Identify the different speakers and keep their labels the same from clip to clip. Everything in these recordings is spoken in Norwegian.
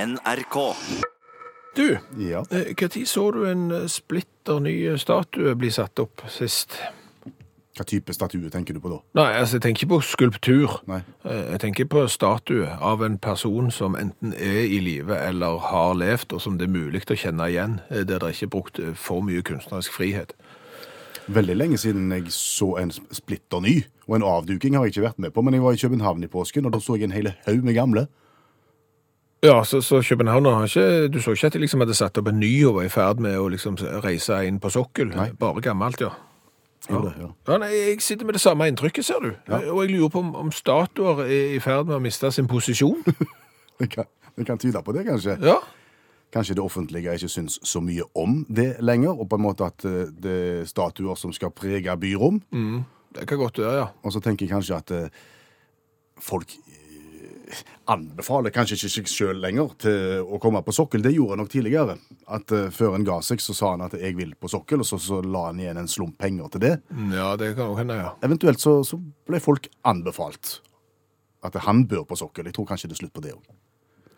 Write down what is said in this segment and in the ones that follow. Speaker 1: NRK.
Speaker 2: Du,
Speaker 3: Ja.
Speaker 2: når så du en eh, splitter ny eh, statue bli satt opp sist?
Speaker 3: Hva type statue tenker du på da?
Speaker 2: Nei, altså, jeg tenker ikke på skulptur.
Speaker 3: Nei.
Speaker 2: Eh, Jeg tenker på statue av en person som enten er i live eller har levd, og som det er mulig å kjenne igjen, eh, der det ikke er brukt eh, for mye kunstnerisk frihet.
Speaker 3: Veldig lenge siden jeg så en sp- splitter ny, og en avduking har jeg ikke vært med på, men jeg var i København i påsken, og da så jeg en hel haug med gamle.
Speaker 2: Ja, så, så København har ikke Du så ikke at de liksom hadde satt opp en ny og var i ferd med å liksom reise inn på sokkel?
Speaker 3: Nei.
Speaker 2: Bare gammelt, ja.
Speaker 3: Jo da, ja.
Speaker 2: Ja, nei, Jeg sitter med det samme inntrykket, ser du. Og jeg lurer på om, om statuer er i ferd med å miste sin posisjon.
Speaker 3: Det kan, det kan tyde på det, kanskje.
Speaker 2: Ja.
Speaker 3: Kanskje det offentlige ikke syns så mye om det lenger, og på en måte at eh, det er statuer som skal prege byrom.
Speaker 2: Det kan godt være, ja.
Speaker 3: Og så tenker jeg kanskje at eh, folk eh, anbefaler kanskje ikke seg sjøl lenger til å komme på sokkel. Det gjorde han nok tidligere. At eh, Før en ga seg, så sa han at 'jeg vil på sokkel', og så, så la han igjen en slump penger til det.
Speaker 2: Mm, Ja, det kan også hende, ja.
Speaker 3: Eventuelt så, så ble folk anbefalt at han bør på sokkel. Jeg tror kanskje det er slutt på det òg.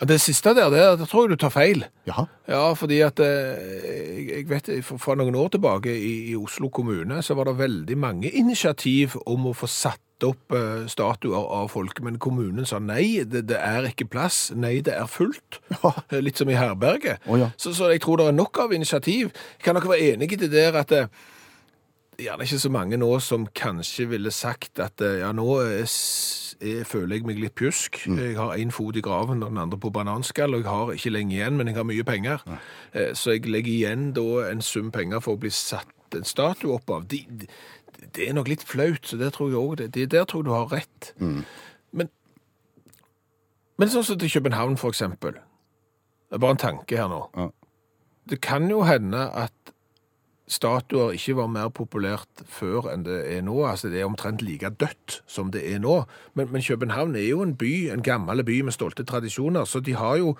Speaker 2: Ja, Det siste der, det, det tror jeg du tar feil.
Speaker 3: Jaha.
Speaker 2: Ja, fordi at eh, jeg, jeg vet fra- fra noen år tilbake i, i Oslo kommune så var det veldig mange initiativ om å få satt opp eh, statuer av folk, men kommunen sa nei, det, det er ikke plass, nei, det er fullt. Eh, Litt som i herberget.
Speaker 3: Å, ja.
Speaker 2: så, så jeg tror det er nok av initiativ. Kan dere være enige i det der at eh, det er gjerne ikke så mange nå som kanskje ville sagt at eh, ja, nå er s- er- føler jeg meg litt pjusk. Jeg har én fot i graven og den andre på bananskall, og jeg har ikke lenge igjen, men jeg har mye penger. Eh, Så jeg legger igjen da en sum penger for å bli satt en statue opp av. De, de- det er nok litt flaut, så der tror jeg òg det. det- Der tror jeg du har rett. Men, men sånn som til København, for eksempel. Det er bare en tanke her nå.
Speaker 3: Ja.
Speaker 2: Det kan jo hende at statuer ikke var mer populært før enn det er nå. Altså, det er omtrent like dødt som det er nå. Men, men København er jo en by, en gammel by med stolte tradisjoner, så de har jo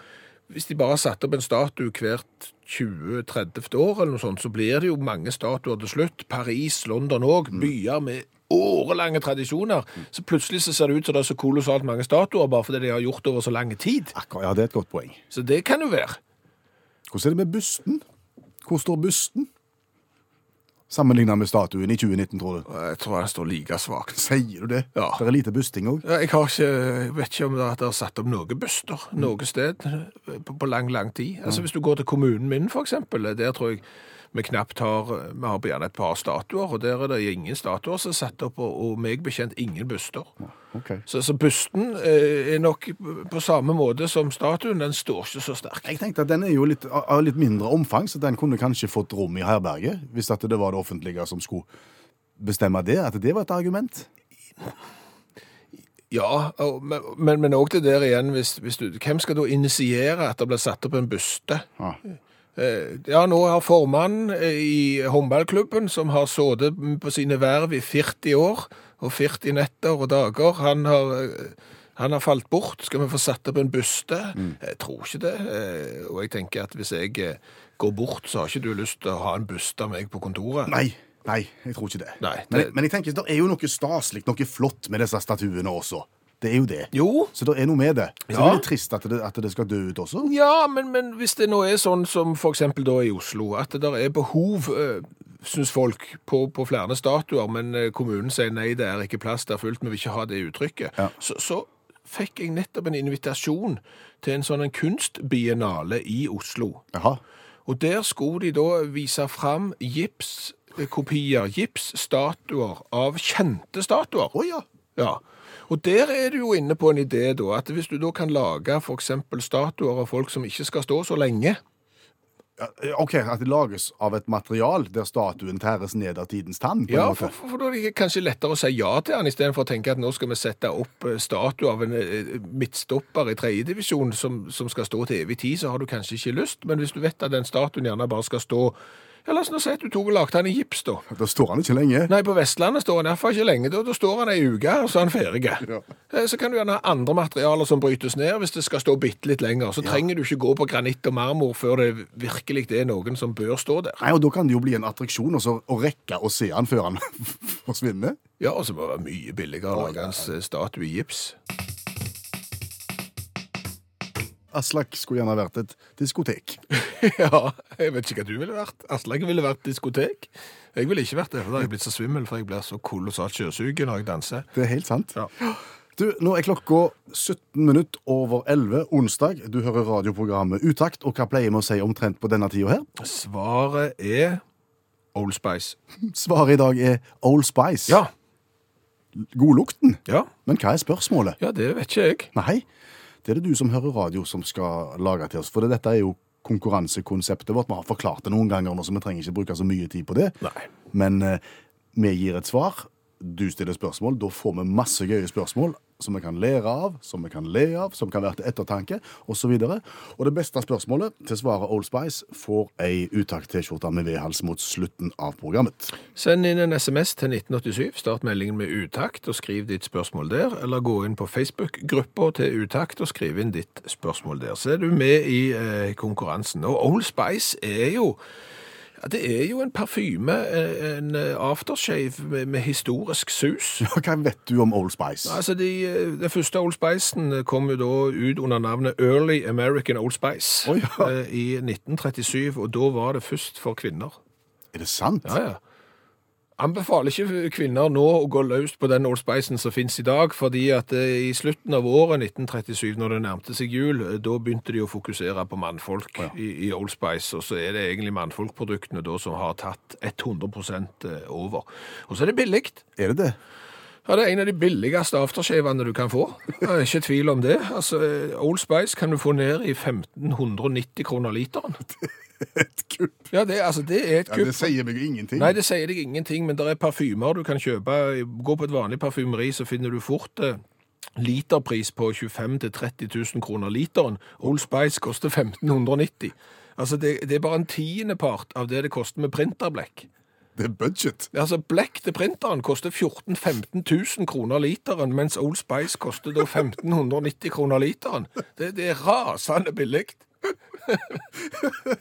Speaker 2: hvis de bare satte opp en statue hvert 20-30 år, eller noe sånt, så blir det jo mange statuer til slutt. Paris, London òg, byer med årelange tradisjoner. Så plutselig så ser det ut som det er så kolossalt mange statuer, bare fordi de har gjort det over så lang tid.
Speaker 3: Akkurat, ja, det er et godt poeng.
Speaker 2: Så det kan jo være.
Speaker 3: Hvordan er det med busten? Hvor står busten? Sammenlignet med statuen i 2019, tror du.
Speaker 2: Jeg tror det står like svakt.
Speaker 3: Sier du det?
Speaker 2: Ja.
Speaker 3: Det er lite busting òg.
Speaker 2: Ja, Jeg, har ikke, jeg vet ikke om det er at det er satt opp noen buster noe sted eh, på, på lang, lang tid. Altså Hvis du går til kommunen min, for eksempel, der tror jeg vi knapt har Vi har gjerne et par statuer, og der er det ingen statuer som er satt opp, og, og meg bekjent ingen buster. Så, så busten eh, er nok på samme måte som statuen, den står ikke så sterkt.
Speaker 3: Jeg tenkte at Den er jo litt, av litt mindre omfang, så den kunne kanskje fått rom i herberget. Hvis at det var det offentlige som skulle bestemme det. At det var et argument.
Speaker 2: Ja, og- men- men, men også det der igjen, hvis, hvis du, hvem skal da initiere at det blir satt opp en buste?
Speaker 3: Ja.
Speaker 2: Eh, Ja, nå har formannen eh, i håndballklubben, som har sittet på sine verv i 40 år og 40 netter og dager, han har, eh, han har falt bort. Skal vi få satt opp en buste? Jeg tror ikke det. eh, Og jeg tenker at hvis jeg eh, går bort, så har ikke du lyst til å ha en buste av meg på kontoret.
Speaker 3: Nei, nei, jeg tror ikke det.
Speaker 2: Nei, det-
Speaker 3: Men, jeg- men jeg tenker, det er jo noe staselig, noe flott med disse statuene også. Det er jo det.
Speaker 2: Jo.
Speaker 3: Så det er noe med det. Så det
Speaker 2: Ja.
Speaker 3: er litt trist at det, at det skal dø ut også.
Speaker 2: Ja, men, men hvis det nå er sånn som for eksempel da i Oslo, at det der er behov, øh, synes folk, på, på flere statuer, men eh, kommunen sier nei, det er ikke plass, det er fullt, vi vil ikke ha det uttrykket,
Speaker 3: Ja.
Speaker 2: så, så fikk jeg nettopp en invitasjon til en sånn en kunstbiennale i Oslo.
Speaker 3: Jaha.
Speaker 2: Og der skulle de da vise fram gipskopier, gipsstatuer av kjente statuer.
Speaker 3: Å ja.
Speaker 2: Ja, og der er du jo inne på en idé da, at hvis du da kan lage for eksempel statuer av folk som ikke skal stå så lenge,
Speaker 3: Ja, eh, OK, at det lages av et material der statuen tæres ned av tidens tann. på en
Speaker 2: ja,
Speaker 3: måte.
Speaker 2: for, for, for da er det kanskje lettere å si ja til han, i stedet for å tenke at nå skal vi sette opp eh, statue av en eh, midtstopper i tredje divisjon som, som skal stå til evig tid, så har du kanskje ikke lyst, men hvis du vet at den statuen gjerne bare skal stå, ja, la oss nå si at du tok og lagde han i gips da.
Speaker 3: Da står han ikke lenge.
Speaker 2: Nei, på Vestlandet står han iallfall ikke lenge. Da, da står han ei uke, og så er han ferdig. Eh, Så kan du gjerne ha andre materialer som brytes ned hvis det skal stå bitte litt lenger. Så trenger du ikke gå på granitt og marmor før det virkelig er noen som bør stå der.
Speaker 3: Nei, og Da kan det jo bli en attraksjon og så å rekke å se han før han forsvinner.
Speaker 2: Ja, og så må det være mye billigere å lage en s- statue i gips.
Speaker 3: Aslak skulle gjerne vært et diskotek.
Speaker 2: Ja, jeg vet ikke hva du ville vært. Aslak ville vært diskotek. Jeg ville ikke vært det, for da har jeg blitt så svimmel, for jeg blir så kolossalt sjøsugen når jeg danser.
Speaker 3: Det er helt sant.
Speaker 2: Ja.
Speaker 3: Du, Nå er klokka 17 minutter over 11 onsdag. Du hører radioprogrammet Utakt, og hva pleier vi å si omtrent på denne tida her?
Speaker 2: Svaret er Old Spice.
Speaker 3: Svaret i dag er Old Spice.
Speaker 2: Ja.
Speaker 3: Godlukten.
Speaker 2: Ja,
Speaker 3: Men hva er spørsmålet?
Speaker 2: ja det vet ikke jeg.
Speaker 3: Nei, det er det du som hører radio som skal lage til oss, for dette er jo konkurransekonseptet vårt. Vi har forklart det noen ganger nå, så vi trenger ikke bruke så mye tid på det.
Speaker 2: Nei.
Speaker 3: Men eh, vi gir et svar, du stiller spørsmål, da får vi masse gøye spørsmål som vi kan lære av, som vi kan le av, som kan være til ettertanke, osv. Og, og det beste spørsmålet til svaret Old Spice får ei utakt-T-skjorte med vedhals mot slutten av programmet.
Speaker 2: Send inn en SMS til 1987, start meldingen med utakt og skriv ditt spørsmål der, eller gå inn på Facebook-gruppa til utakt og skriv inn ditt spørsmål der. Så er du med i eh, konkurransen. Og Old Spice er jo ja, det er jo en parfyme, eh, en eh, aftershave med, med historisk sus.
Speaker 3: Hva vet du om Old Spice?
Speaker 2: Altså, de, eh, Den første Old Spicen kom jo da ut under navnet Early American Old Spice
Speaker 3: Å, ja.
Speaker 2: eh, i 1937, og da var det først for kvinner.
Speaker 3: Er det sant?
Speaker 2: Ja, ja. Anbefaler ikke kvinner nå å gå løs på den Old Spicen som finnes i dag, fordi at eh, i slutten av året 1937, når det nærmte seg jul, eh, da begynte de å fokusere på mannfolk i, i Old Spice, og så er det egentlig mannfolkproduktene da som har tatt 100 eh, over. Og så er det billig.
Speaker 3: Er det det?
Speaker 2: Ja, det er en av de billigste aftershavene du kan få. Jeg er ikke i tvil om det. Altså, eh, Old Spice kan du få ned i 1590 kroner literen.
Speaker 3: Et kupp?
Speaker 2: Ja, det, altså, det er et
Speaker 3: Ja,
Speaker 2: kupp.
Speaker 3: det sier meg jo ingenting.
Speaker 2: Nei, det sier deg ingenting, men det er parfymer du kan kjøpe. Gå på et vanlig parfymeri, så finner du fort eh, literpris på 25 000-30 000 kroner literen. Old Spice koster 1590. Altså, det, det er bare en tiendepart av det det koster med printerblekk.
Speaker 3: det er budget.
Speaker 2: Altså, Blekk til printeren koster 14 000-15 000 kroner literen, mens Old Spice koster da 1590 kroner literen. Det, det er rasende billig.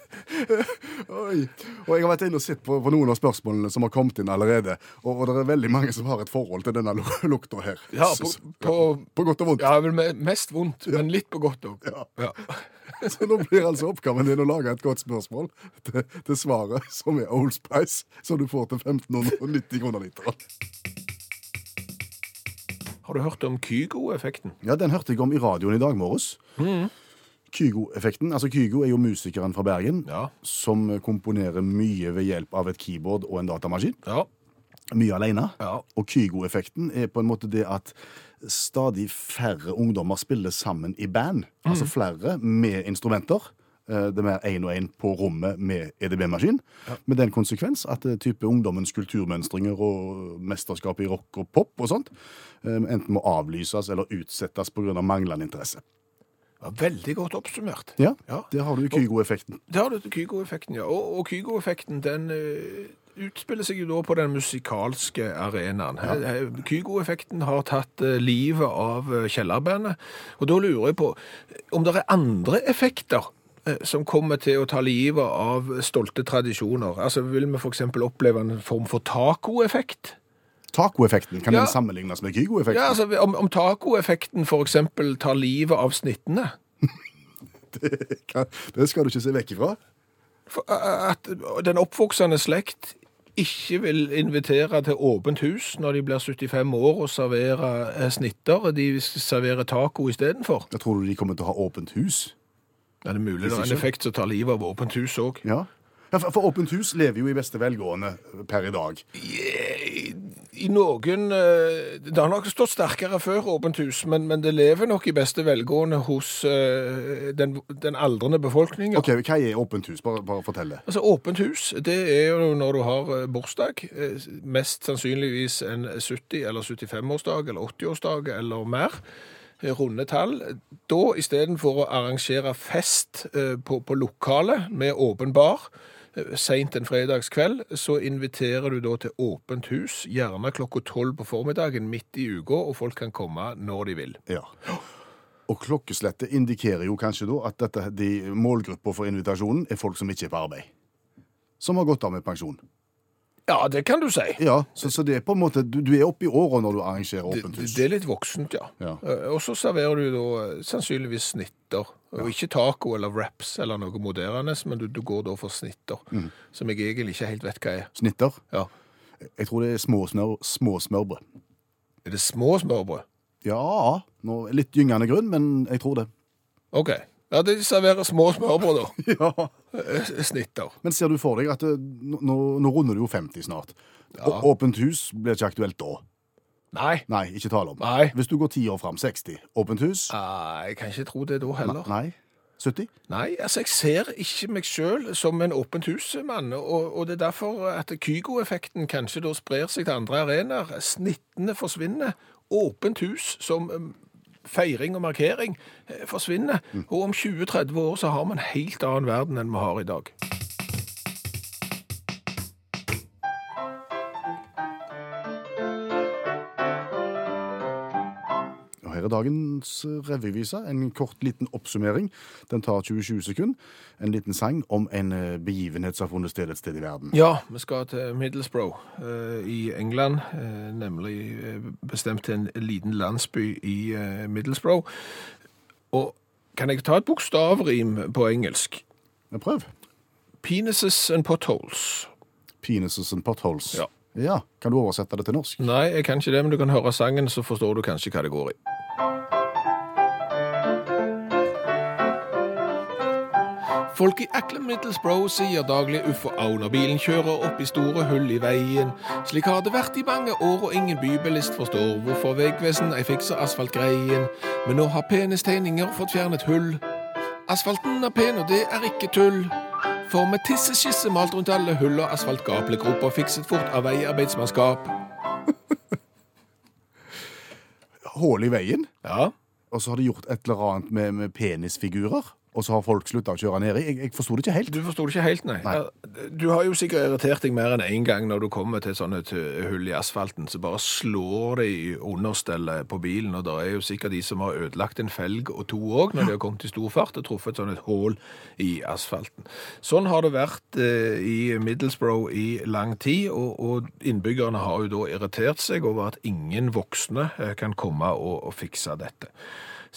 Speaker 3: Oi. Og jeg har vært inne og sett på, på noen av spørsmålene som har kommet inn allerede, og, og det er veldig mange som har et forhold til denne lu- lukta her.
Speaker 2: Ja, på,
Speaker 3: Så-
Speaker 2: på,
Speaker 3: på godt og vondt.
Speaker 2: ja vel, me- mest vondt, men litt på godt òg.
Speaker 3: Ja.
Speaker 2: Ja.
Speaker 3: Så nå blir altså oppgaven din å lage et godt spørsmål til, til svaret, som er Old Spice, som du får til 1590 kroner literen.
Speaker 2: Har du hørt om Kygo-effekten?
Speaker 3: Ja, den hørte jeg om i radioen i dag morges.
Speaker 2: Mm.
Speaker 3: Kygo-effekten. Altså, Kygo er jo musikeren fra Bergen.
Speaker 2: Ja.
Speaker 3: Som komponerer mye ved hjelp av et keyboard og en datamaskin.
Speaker 2: Ja.
Speaker 3: Mye alene.
Speaker 2: Ja.
Speaker 3: Og Kygo-effekten er på en måte det at stadig færre ungdommer spiller sammen i band. Altså flere med instrumenter. Eh, Det er mer én og én på rommet med EDB-maskin. Med den konsekvens at eh, type ungdommens kulturmønstringer og mesterskap i rock og pop og sånt eh, enten må avlyses eller utsettes pga. manglende interesse.
Speaker 2: Ja, Veldig godt oppsummert.
Speaker 3: Ja,
Speaker 2: Ja.
Speaker 3: Der har du Kygo-effekten.
Speaker 2: Det har du til Kygo-effekten, ja. Og, og Kygo-effekten, den eh, utspiller seg jo da på den musikalske arenaen. Eh, eh, Kygo-effekten har tatt eh, livet av eh, kjellerbandet, og da lurer jeg på eh, om det er andre effekter eh, som kommer til å ta livet av stolte tradisjoner. Altså, Vil vi f.eks. oppleve en form for taco-effekt?
Speaker 3: Taco-effekten, kan
Speaker 2: Ja.
Speaker 3: den sammenlignes med Kygo-effekten?
Speaker 2: Ja, altså, Om, om taco-effekten f.eks. tar livet av snittene?
Speaker 3: Det skal du ikke se vekk ifra.
Speaker 2: For, eh, at den oppvoksende slekt ikke vil invitere til åpent hus når de blir 75 år og servere eh, snitter. De serverer taco istedenfor.
Speaker 3: Jeg tror du de kommer til å ha åpent hus.
Speaker 2: Er det mulig det er
Speaker 3: Hvis
Speaker 2: en
Speaker 3: ikke-
Speaker 2: effekt som tar livet av åpent hus òg?
Speaker 3: Ja. ja for, for Åpent hus lever jo i beste velgående per i dag.
Speaker 2: I, I noen eh, Det har nok stått sterkere før åpent hus, men, men det lever nok i beste velgående hos eh, den, den aldrende befolkninga.
Speaker 3: Ok, Hva er åpent hus? Bare, bare fortell det.
Speaker 2: Altså, Åpent hus det er jo når du har eh, bursdag. eh, Mest sannsynligvis en 70- eller 75-årsdag eller 80-årsdag eller mer. eh, Runde tall. Da istedenfor å arrangere fest eh, på, på lokalet med åpen bar eh, Seint en fredagskveld så inviterer du da til åpent hus, gjerne klokka tolv på formiddagen midt i uka, og folk kan komme når de vil.
Speaker 3: Ja. Og klokkeslettet indikerer jo kanskje da at dette, de målgruppa for invitasjonen er folk som ikke er på arbeid. Som har gått av med pensjon.
Speaker 2: Ja, det kan du si.
Speaker 3: Ja, så, så det er på en måte, du, du er oppe i åra når du arrangerer
Speaker 2: Det,
Speaker 3: åpent hus.
Speaker 2: det er litt voksent, ja.
Speaker 3: Ja.
Speaker 2: Eh, Og så serverer du da eh, sannsynligvis snitter. Og ikke taco eller wraps eller noe moderende, men du, du går da for snitter. Som jeg egentlig ikke helt vet hva er.
Speaker 3: Snitter.
Speaker 2: Ja.
Speaker 3: Jeg tror det er småsmør, småsmørbrød.
Speaker 2: Er det små smørbrød?
Speaker 3: Ja, nå, litt gyngende grunn, men jeg tror det.
Speaker 2: OK. Ja, de serverer små smørbrød, da.
Speaker 3: Ja.
Speaker 2: Eh, Snitter.
Speaker 3: Men ser du for deg at eh, nå, nå- nå runder du jo 50 snart.
Speaker 2: Ja.
Speaker 3: Å- Åpent hus blir ikke aktuelt da.
Speaker 2: Nei.
Speaker 3: Nei, ikke tale om.
Speaker 2: Nei.
Speaker 3: Hvis du går 10 år fram, 60. Åpent hus?
Speaker 2: Nei, Jeg kan ikke tro det da heller.
Speaker 3: Nei. 70?
Speaker 2: Nei, altså jeg ser ikke meg sjøl som en åpent hus-mann, og, og det er derfor at Kygo-effekten kanskje da sprer seg til andre arenaer. Snittene forsvinner. Åpent hus som um, feiring og markering eh, forsvinner. Og om 20-30 år så har vi en helt annen verden enn vi har i dag.
Speaker 3: Og her er dagens eh, revyvise. En kort liten oppsummering. Den tar 20-20 sekunder. En liten sang om en eh, begivenhet som har funnet sted et sted i verden.
Speaker 2: Ja, vi skal til Middlesbrough eh, i England, eh, nemlig eh, bestemt til en liten landsby i eh, Middlesbrough. Og kan jeg ta et bokstavrim på engelsk?
Speaker 3: Ja, Prøv.
Speaker 2: Penises and potholes.
Speaker 3: Penises and potholes.
Speaker 2: Ja.
Speaker 3: ja. Kan du oversette det til norsk?
Speaker 2: Nei, jeg kan ikke det, men du kan høre sangen, så forstår du kanskje hva det går i. Folk i Ackle Middlesbrough sier daglig uff og au når bilen kjører opp i store hull i veien. Slik har det vært i mange år, og ingen bybilist forstår hvorfor Vegvesen ei fikser asfaltgreien. Men nå har penistegninger fått fjernet hull. Asfalten er pen, og det er ikke tull. For med tisseskisse malt rundt alle hull og asfaltgap ble gropa fikset fort av veiarbeidsmannskap.
Speaker 3: Hull i veien.
Speaker 2: Ja.
Speaker 3: Og så har de gjort et eller annet med, med penisfigurer. Og så har folk slutta å kjøre nedi. Jeg, jeg forsto det ikke helt.
Speaker 2: Du forsto det ikke helt, nei.
Speaker 3: Nei.
Speaker 2: Ja, Du har jo sikkert irritert deg mer enn én en gang når du kommer til sånne t- hull i asfalten, så bare slår de i understellet på bilen, og det er jo sikkert de som har ødelagt en felg og to òg, når de har kommet i stor fart og truffet sånn et hull i asfalten. Sånn har det vært eh, i Middlesbrough i lang tid, og, og innbyggerne har jo da irritert seg over at ingen voksne eh, kan komme og, og fikse dette.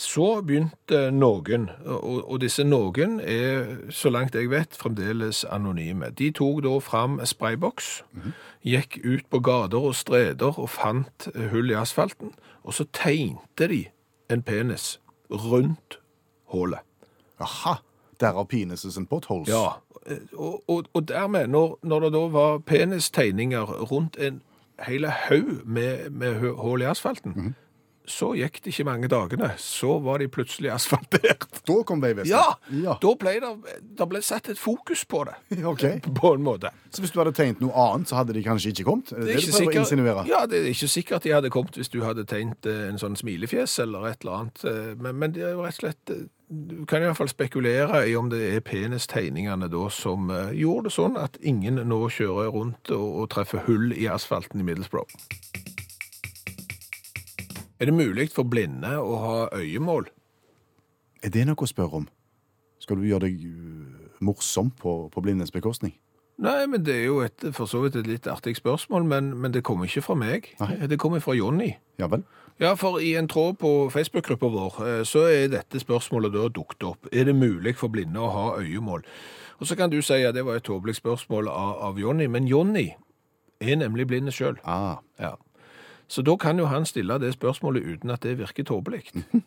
Speaker 2: Så begynte noen, og, og disse noen er, så langt jeg vet, fremdeles anonyme. De tok da fram sprayboks, gikk ut på gater og streder og fant hull i asfalten, og så tegnte de en penis rundt hullet.
Speaker 3: Aha! Derav penises and potholes.
Speaker 2: Ja, og, og, og dermed, når, når det da var penistegninger rundt en hele haug med, med hø- hull i asfalten, så gikk det ikke mange dagene, så var de plutselig asfaltert.
Speaker 3: Da kom Vegvesenet.
Speaker 2: Ja,
Speaker 3: ja.
Speaker 2: da ble det, da ble satt et fokus på det,
Speaker 3: Ok.
Speaker 2: på en måte.
Speaker 3: Så hvis du hadde tegnet noe annet, så hadde de kanskje ikke kommet? Det er det,
Speaker 2: ikke
Speaker 3: du prøver å
Speaker 2: sikkert-
Speaker 3: insinuere.
Speaker 2: Ja, det er ikke sikkert de hadde kommet hvis du hadde tegnet eh, en sånn smilefjes eller et eller annet, eh, men, men det er jo rett og slett, eh, du kan i hvert fall spekulere i om det er penistegningene da som eh, gjorde det sånn at ingen nå kjører rundt og, og treffer hull i asfalten i Middlesbrough. Er det mulig for blinde å ha øyemål?
Speaker 3: Er det noe å spørre om? Skal du gjøre deg øh, morsom på, på blindes bekostning?
Speaker 2: Nei, men det er jo et, for så vidt et litt artig spørsmål, men, men det kommer ikke fra meg. Det kommer fra Jonny.
Speaker 3: Ja vel?
Speaker 2: Ja, for i en tråd på Facebook-gruppa vår, eh, så er dette spørsmålet da dukt opp. Er det mulig for blinde å ha øyemål? Og så kan du si at det var et tåpelig spørsmål av, av Jonny, men Jonny er nemlig blinde sjøl.
Speaker 3: Ah,
Speaker 2: Ja. Så da kan jo han stille det spørsmålet uten at det virker tåpelig.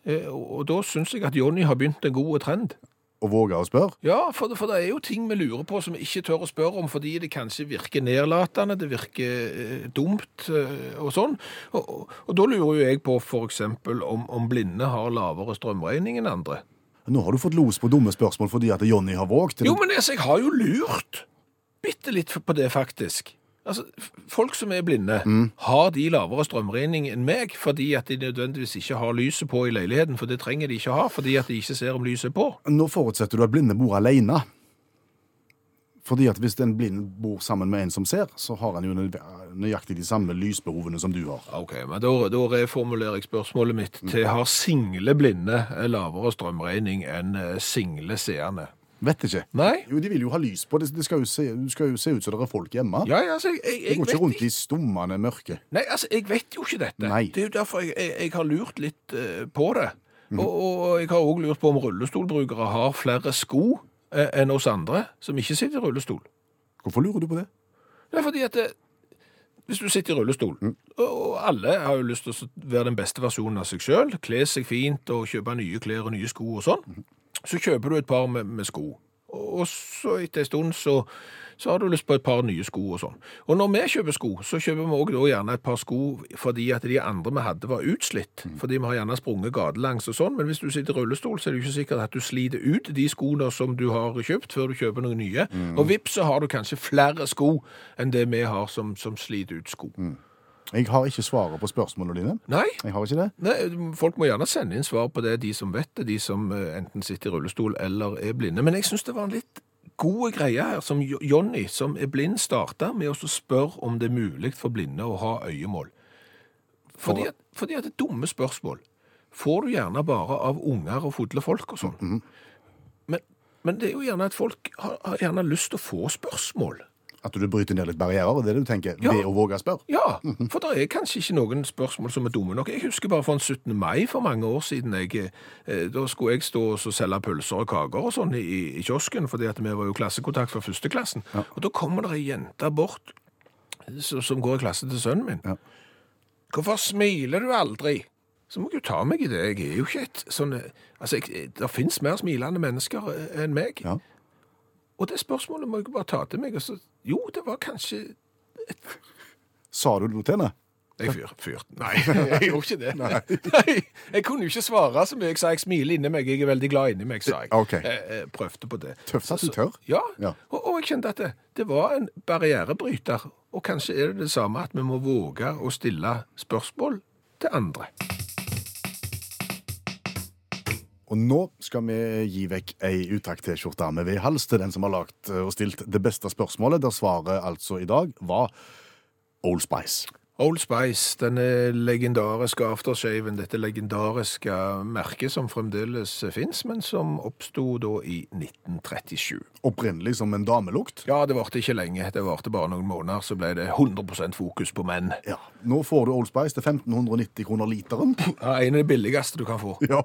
Speaker 2: Eh, Og, og da syns jeg at Jonny har begynt en god trend.
Speaker 3: og våge å spørre?
Speaker 2: Ja, for det, for det er jo ting vi lurer på som vi ikke tør å spørre om, fordi det kanskje virker nedlatende, det virker eh, dumt eh, og sånn. Og, og, og da lurer jo jeg på for eksempel om, om blinde har lavere strømregning enn andre.
Speaker 3: Nå har du fått los på dumme spørsmål fordi at Jonny har våget.
Speaker 2: Jo, men altså, jeg har jo lurt bitte litt på det, faktisk. Altså, f- Folk som er blinde, har de lavere strømregning enn meg fordi at de nødvendigvis ikke har lyset på i leiligheten? For det trenger de ikke ha, fordi at de ikke ser om lyset er på.
Speaker 3: Nå forutsetter du at blinde bor alene. Fordi at hvis en blind bor sammen med en som ser, så har han jo nø- nøyaktig de samme lysbehovene som du har.
Speaker 2: Ok, men da, da reformulerer jeg spørsmålet mitt til har single blinde lavere strømregning enn eh, single seende?
Speaker 3: Vet ikke.
Speaker 2: Nei?
Speaker 3: Jo, de vil jo ha lys på. Det, det skal jo se, du skal jo se ut som det er folk hjemme.
Speaker 2: Ja, ja, altså, jeg, jeg,
Speaker 3: det
Speaker 2: jeg
Speaker 3: går
Speaker 2: vet
Speaker 3: ikke rundt i stummende mørke.
Speaker 2: Nei, altså, jeg vet jo ikke dette.
Speaker 3: Nei.
Speaker 2: Det er jo derfor jeg, jeg, jeg har lurt litt eh, på det.
Speaker 3: Mhm.
Speaker 2: Og, og jeg har også lurt på om rullestolbrukere har flere sko eh, enn oss andre, som ikke sitter i rullestol.
Speaker 3: Hvorfor lurer du på det?
Speaker 2: Det er fordi at eh, hvis du sitter i rullestol, og- og alle har jo lyst til å s- være den beste versjonen av seg selv, kle seg fint og kjøpe nye klær og nye sko og sånn, så kjøper du et par med, med sko. Og og så etter en stund så, så har du lyst på et par nye sko og sånn. Og når vi kjøper sko, så kjøper vi også da gjerne et par sko fordi at de andre vi hadde var utslitt. Fordi vi har gjerne sprunget gatelangs og sånn, men hvis du sitter i rullestol, så er det jo ikke sikkert at du sliter ut de skoene som du har kjøpt før du kjøper noen nye. Og vips, så har du kanskje flere sko enn det vi har som, som sliter ut sko.
Speaker 3: Jeg har ikke svaret på spørsmålene dine.
Speaker 2: Nei,
Speaker 3: Jeg har ikke det.
Speaker 2: Nei, folk må gjerne sende inn svar på det, de som vet det, de som eh, enten sitter i rullestol eller er blinde. Men jeg syns det var en litt gode greie her, som Jo- Jonny, som er blind, starta med å så spørre om det er mulig for blinde å ha øyemål. Fordi, at- fordi at det er dumme spørsmål får du gjerne bare av unger og fodle folk og sånn. men, men det er jo gjerne at folk har, har gjerne lyst til å få spørsmål.
Speaker 3: At du bryter ned litt barrierer, det er det du tenker,
Speaker 2: Ja.
Speaker 3: ved å våge å spørre.
Speaker 2: Ja, for det er kanskje ikke noen spørsmål som er dumme nok. Jeg husker bare fra en 17. mai for mange år siden. Jeg, eh, da skulle jeg stå og så selge pølser og kaker og sånn i, i kiosken, fordi at vi var jo klassekontakt fra førsteklassen. Og da kommer det ei jente bort eh, som, som går i klasse til sønnen min.
Speaker 3: Ja.
Speaker 2: Hvorfor smiler du aldri? Så må jeg jo ta meg i det. Jeg er jo ikke et sånn eh, Altså, jeg, det fins mer smilende mennesker eh, enn meg.
Speaker 3: Ja.
Speaker 2: Og det spørsmålet må jeg jo bare ta til meg. Og så, jo, det var kanskje
Speaker 3: Sa du noe til henne?
Speaker 2: Jeg fyr, fyrt. Nei, jeg gjorde ikke det. Nei, jeg kunne jo ikke svare så mye. Jeg sa jeg smiler inni meg, jeg er veldig glad inni meg, sa jeg.
Speaker 3: Ok.
Speaker 2: Jeg, jeg prøvde på det.
Speaker 3: Tøft at du
Speaker 2: Så-
Speaker 3: tør.
Speaker 2: Ja,
Speaker 3: Ja.
Speaker 2: Og, og jeg kjente at det, det var en barrierebryter. Og kanskje er det det samme at vi må våge å stille spørsmål til andre.
Speaker 3: Og nå skal vi gi vekk ei Utakt-T-skjorte med ved hals til den som har lagt eh, og stilt det beste spørsmålet, der svaret altså i dag var Old Spice.
Speaker 2: Old Spice, denne legendariske aftershaven, dette legendariske merket som fremdeles finnes, men som oppstod da i 1937.
Speaker 3: Opprinnelig som en damelukt.
Speaker 2: Ja, det varte ikke lenge. Det varte bare noen måneder, så ble det 100 fokus på menn.
Speaker 3: Ja, Nå får du Old Spice til 1590 kroner literen.
Speaker 2: Ja, En av de billigste du kan få.
Speaker 3: Ja.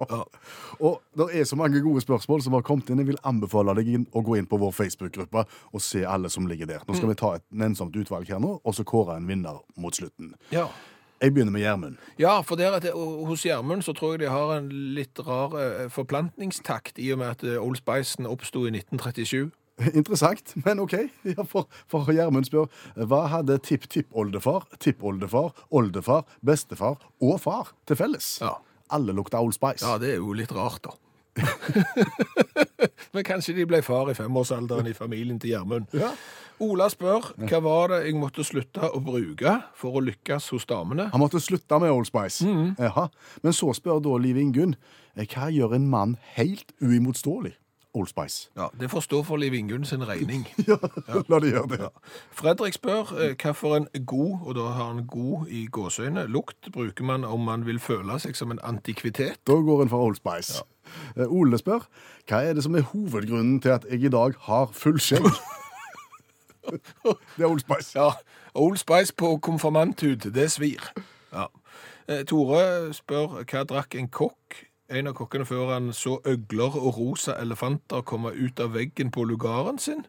Speaker 3: Og det er så mange gode spørsmål som har kommet inn. Jeg vil anbefale deg inn å gå inn på vår Facebook-gruppe og se alle som ligger der. Nå
Speaker 2: Mm.
Speaker 3: skal vi ta et ensomt utvalg her nå, og så kåre en vinner mot slutten.
Speaker 2: Ja,
Speaker 3: Jeg begynner med Gjermund.
Speaker 2: ja for der at det, og hos Gjermund så tror jeg de har en litt rar eh, forplantningstakt, i og med at eh, Old Spicen oppsto i 1937.
Speaker 3: Interessant, men OK. Ja, for, for Gjermund spør hva hadde tipptippoldefar, tippoldefar, oldefar, bestefar og far til felles?
Speaker 2: Ja.
Speaker 3: Alle lukta Old Spice.
Speaker 2: Ja, det er jo litt rart, da. Men kanskje de ble far i femårsalderen i familien til Gjermund.
Speaker 3: Ja.
Speaker 2: Ola spør hva var det jeg måtte slutte å bruke for å lykkes hos damene.
Speaker 3: Han måtte slutte med Old Spice.
Speaker 2: Mm.
Speaker 3: Jaha. Men så spør da Liv Ingunn eh, hva gjør en mann helt uimotståelig? Old Spice.
Speaker 2: Ja, Det får stå for Liv Ingunn sin regning.
Speaker 3: Ja, la de gjøre det.
Speaker 2: Fredrik spør eh, hva for en god, og da har han god i gåsøyne, lukt bruker man om man vil føle seg som en antikvitet.
Speaker 3: Da går en for Old Spice. Eh, Ole spør hva er det som er hovedgrunnen til at jeg i dag har full skjegg? det er Old Spice.
Speaker 2: Ja, Old Spice på konfirmanthud, det svir. Ja. Eh, Tore spør hva drakk en kokk? En av kokkene før han så øgler og rosa elefanter komme ut av veggen på lugaren sin.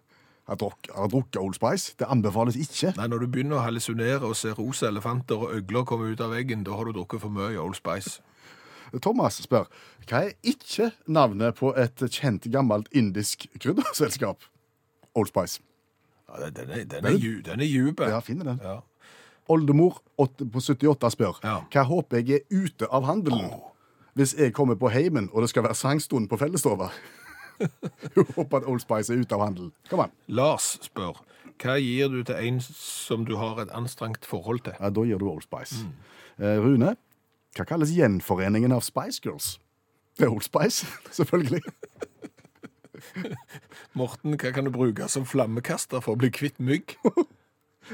Speaker 3: Har drukket, har drukket Old Spice. Det anbefales ikke.
Speaker 2: Nei, når du begynner å hallusinere og se rosa elefanter og øgler komme ut av veggen, da har du drukket for mye Old Spice.
Speaker 3: Thomas spør hva er ikke navnet på et kjent gammelt indisk krydderselskap? Old Spice.
Speaker 2: Ja, den- den er, den er, ju- den er djup.
Speaker 3: Ja, finner den.
Speaker 2: Ja.
Speaker 3: Oldemor åtte- på 78 spør
Speaker 2: Ja.
Speaker 3: hva håper jeg er ute av handelen hvis jeg kommer på heimen og det skal være sangstund på fellesstova. Hun håper at Old Spice er ute av handelen. Kom an.
Speaker 2: Lars spør Hva gir du til en som du har et anstrengt forhold til?
Speaker 3: Ja, da gir du Old Spice. Eh, Rune, hva kalles gjenforeningen av Spice Girls? Det er Old Spice, selvfølgelig.
Speaker 2: Morten, hva kan du bruke som flammekaster for å bli kvitt mygg?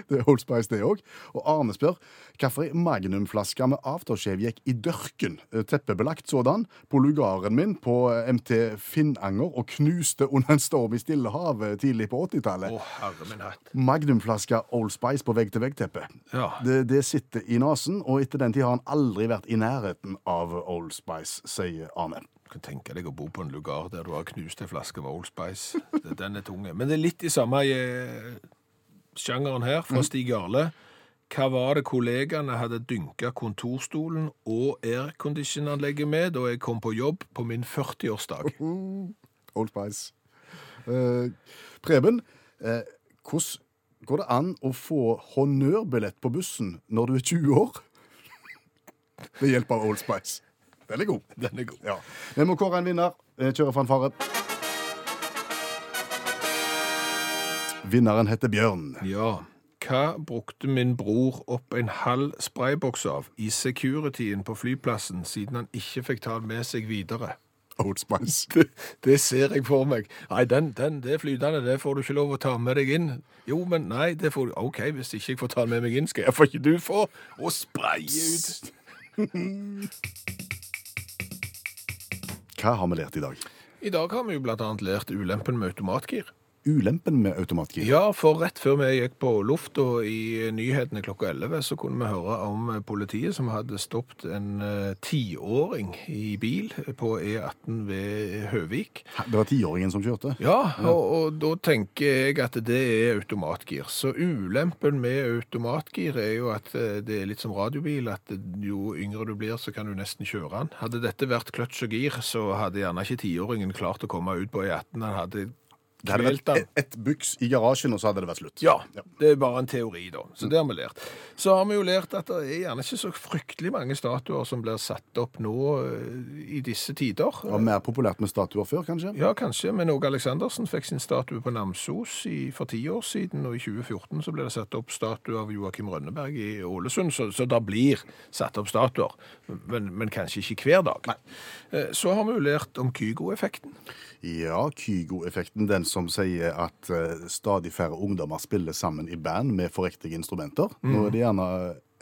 Speaker 3: Det er Old Spice, det òg. Og Arne spør hvilken magnumflaske med aftershave gikk i dørken, eh, teppebelagt sådan, på lugaren min på eh, MT Finnanger og knuste under en storm i Stillehavet tidlig på 80-tallet.
Speaker 2: Å, herre min hatt.
Speaker 3: Magnumflaske Old Spice på vegg-til-vegg-teppet.
Speaker 2: Ja.
Speaker 3: Det, det sitter i nesen, og etter den tid har han aldri vært i nærheten av Old Spice, sier Arne.
Speaker 2: Du kan tenke deg å bo på en lugar der du har knust en flaske med Old Spice. Det- Den er tunge. Men det er litt i samme eh, sjangeren her, fra Stig Jarle. Hva var det kollegaene hadde dynka kontorstolen og airconditionanlegget med da jeg kom på jobb på min 40-årsdag?
Speaker 3: Old Spice. Eh, Preben, eh, hvordan går det an å få honnørbillett på bussen når du er 20 år? Ved hjelp av Old Spice. Den er god.
Speaker 2: Den er god.
Speaker 3: Ja. Vi må kåre en vinner. Eh, Kjøre fanfare. Vinneren heter Bjørn.
Speaker 2: Ja. Hva brukte min bror opp en halv sprayboks av i securityen på flyplassen siden han ikke fikk ta den med seg videre?
Speaker 3: Old Spice.
Speaker 2: Det, det ser jeg for meg. Nei, den, den, det er flytende, det får du ikke lov å ta med deg inn. Jo, men nei, det får du. OK, hvis ikke jeg får ta den med meg inn, skal jeg få ikke du få å spraye ut.
Speaker 3: Hva har vi lært i dag?
Speaker 2: I dag har vi jo blant annet lært ulempen med automatgir.
Speaker 3: Ulempen med automatgir.
Speaker 2: Ja, for rett før vi gikk på luft og i nyhetene klokka 11, så kunne vi høre om politiet som hadde stoppet en eh, tiåring i bil på E18 ved Høvik.
Speaker 3: Det var tiåringen som kjørte.
Speaker 2: Ja, og, og da tenker jeg at det er automatgir. Så ulempen med automatgir er jo at eh, det er litt som radiobil, at jo yngre du blir, så kan du nesten kjøre den. Hadde dette vært kløtsj og gir, så hadde gjerne ikke tiåringen klart å komme ut på E18. Han hadde
Speaker 3: Det hadde
Speaker 2: kvelt
Speaker 3: vært
Speaker 2: den.
Speaker 3: ett et byks i garasjen, og så hadde det vært slutt.
Speaker 2: Ja,
Speaker 3: Ja.
Speaker 2: det er bare en teori da. Så det har vi lært. Så har vi jo lært at det er gjerne ikke så fryktelig mange statuer som blir satt opp nå eh, i disse tider.
Speaker 3: Det var mer populært med statuer før, kanskje?
Speaker 2: Ja, kanskje, men Åge Aleksandersen fikk sin statue på Namsos i, for ti år siden, og i 2014 så ble det satt opp statue av Joakim Rønneberg i Ålesund, så, så det blir satt opp statuer, men, men kanskje ikke hver dag. Eh, Så har vi jo lært om Kygo-effekten.
Speaker 3: Ja, Kygo-effekten, den som sier at eh, stadig færre ungdommer spiller sammen i band med forriktige instrumenter. Nå er det gjerne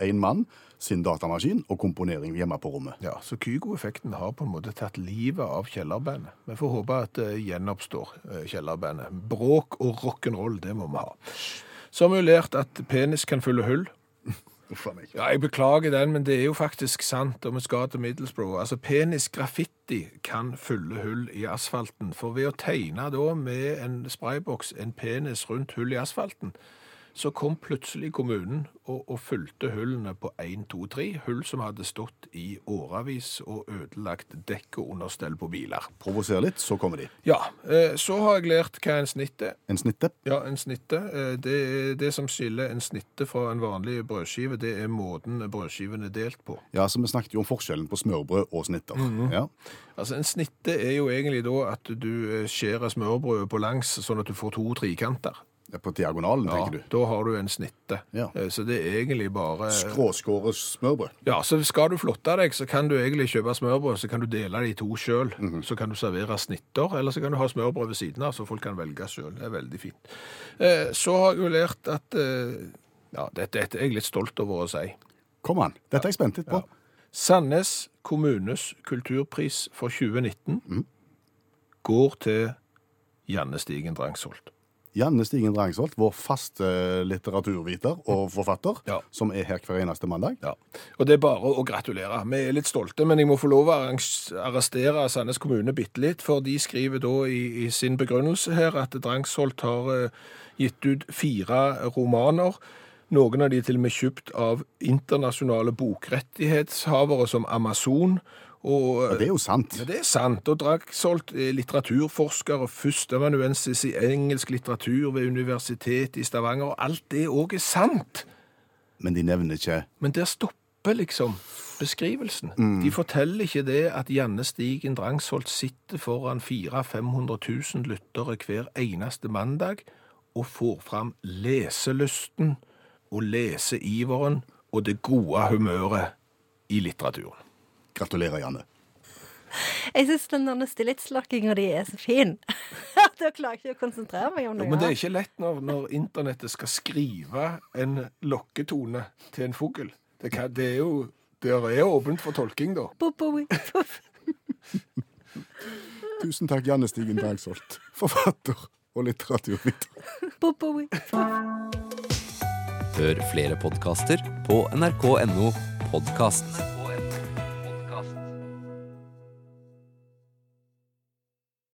Speaker 3: én mann, sin datamaskin og komponering hjemme på rommet.
Speaker 2: Ja, så Kygo-effekten har på en måte tatt livet av kjellerbandet. Vi får håpe at det gjenoppstår eh, kjellerbandet. Bråk og rock'n'roll, det må vi ha. Så har vi jo lært at penis kan fylle hull,
Speaker 3: Uff a meg.
Speaker 2: Ja, jeg beklager den, men det er jo faktisk sant, og vi skal til Middlesbrough. Altså, penis graffiti kan fylle hull i asfalten, for ved å tegne da med en sprayboks en penis rundt hull i asfalten, så kom plutselig kommunen og, og fylte hullene på 1, 2, 3, hull som hadde stått i åravis og ødelagt dekk og understell på biler.
Speaker 3: Provoser litt, så kommer de.
Speaker 2: Ja, eh, så har jeg lært hva en snitt er.
Speaker 3: En snitte.
Speaker 2: Ja, en snitte. Eh, Det, er- det som skiller en snitte fra en vanlig brødskive, det er måten brødskiven er delt på.
Speaker 3: Ja, så Vi snakket jo om forskjellen på smørbrød og snitter. ja.
Speaker 2: Altså, En snitte er jo egentlig da at du eh, skjærer smørbrødet på langs, sånn at du får to trikanter.
Speaker 3: Det er På diagonalen, tenker du.
Speaker 2: Da har du en snitte.
Speaker 3: Ja.
Speaker 2: Eh, Så det er egentlig bare
Speaker 3: Skråskåret smørbrød.
Speaker 2: Ja, så skal du flotte deg, så kan du egentlig kjøpe smørbrød, så kan du dele det i to sjøl. Så kan du servere snitter, eller så kan du ha smørbrød ved siden av, så folk kan velge sjøl. Det er veldig fint. Eh, Så har jeg jo lært at eh, Ja, dette, dette er jeg litt stolt over å si.
Speaker 3: Kom an, dette er jeg spent litt på.
Speaker 2: Sandnes kommunes kulturpris for 2019 går til Janne Stigen Drangsholt.
Speaker 3: Janne Stigen Drangsholt, vår faste litteraturviter og forfatter,
Speaker 2: Ja.
Speaker 3: som er her hver eneste mandag.
Speaker 2: Ja. Og det er bare å gratulere. Vi er litt stolte, men jeg må få lov å arrange- arrestere Sandnes kommune bitte litt, for de skriver da i, i sin begrunnelse her at Drangsholt har eh, gitt ut fire romaner. Noen av de til og med kjøpt av internasjonale bokrettighetshavere som Amazon. Og, eh,
Speaker 3: Og det er jo sant.
Speaker 2: Ja, det er sant. Og Dragsholt er litteraturforsker og førsteamanuensis i engelsk litteratur ved Universitetet i Stavanger. og Alt det òg er sant,
Speaker 3: Men de nevner ikke
Speaker 2: men der stopper liksom beskrivelsen. De forteller ikke det at Janne Stigen Drangsholt sitter foran 400 500 000 lyttere hver eneste mandag og får fram leselysten og leseiveren og det gode humøret i litteraturen.
Speaker 3: Gratulerer, Janne.
Speaker 1: Jeg syns den der stillighetsslakkinga di er så fin. At Da klarer jeg ikke å konsentrere meg om
Speaker 2: Jo,
Speaker 1: noe.
Speaker 2: men det er
Speaker 1: annet.
Speaker 2: ikke lett når, når internettet skal skrive en lokketone til en fugl. Det, kan, det er jo det er åpent for tolking, da.
Speaker 1: Bo, bo, bo.
Speaker 3: Tusen takk, Janne Stigen Drangsholt, forfatter og litteraturviter.
Speaker 1: Bo, bo, bo.
Speaker 4: Hør flere podkaster på nrk.no podkast.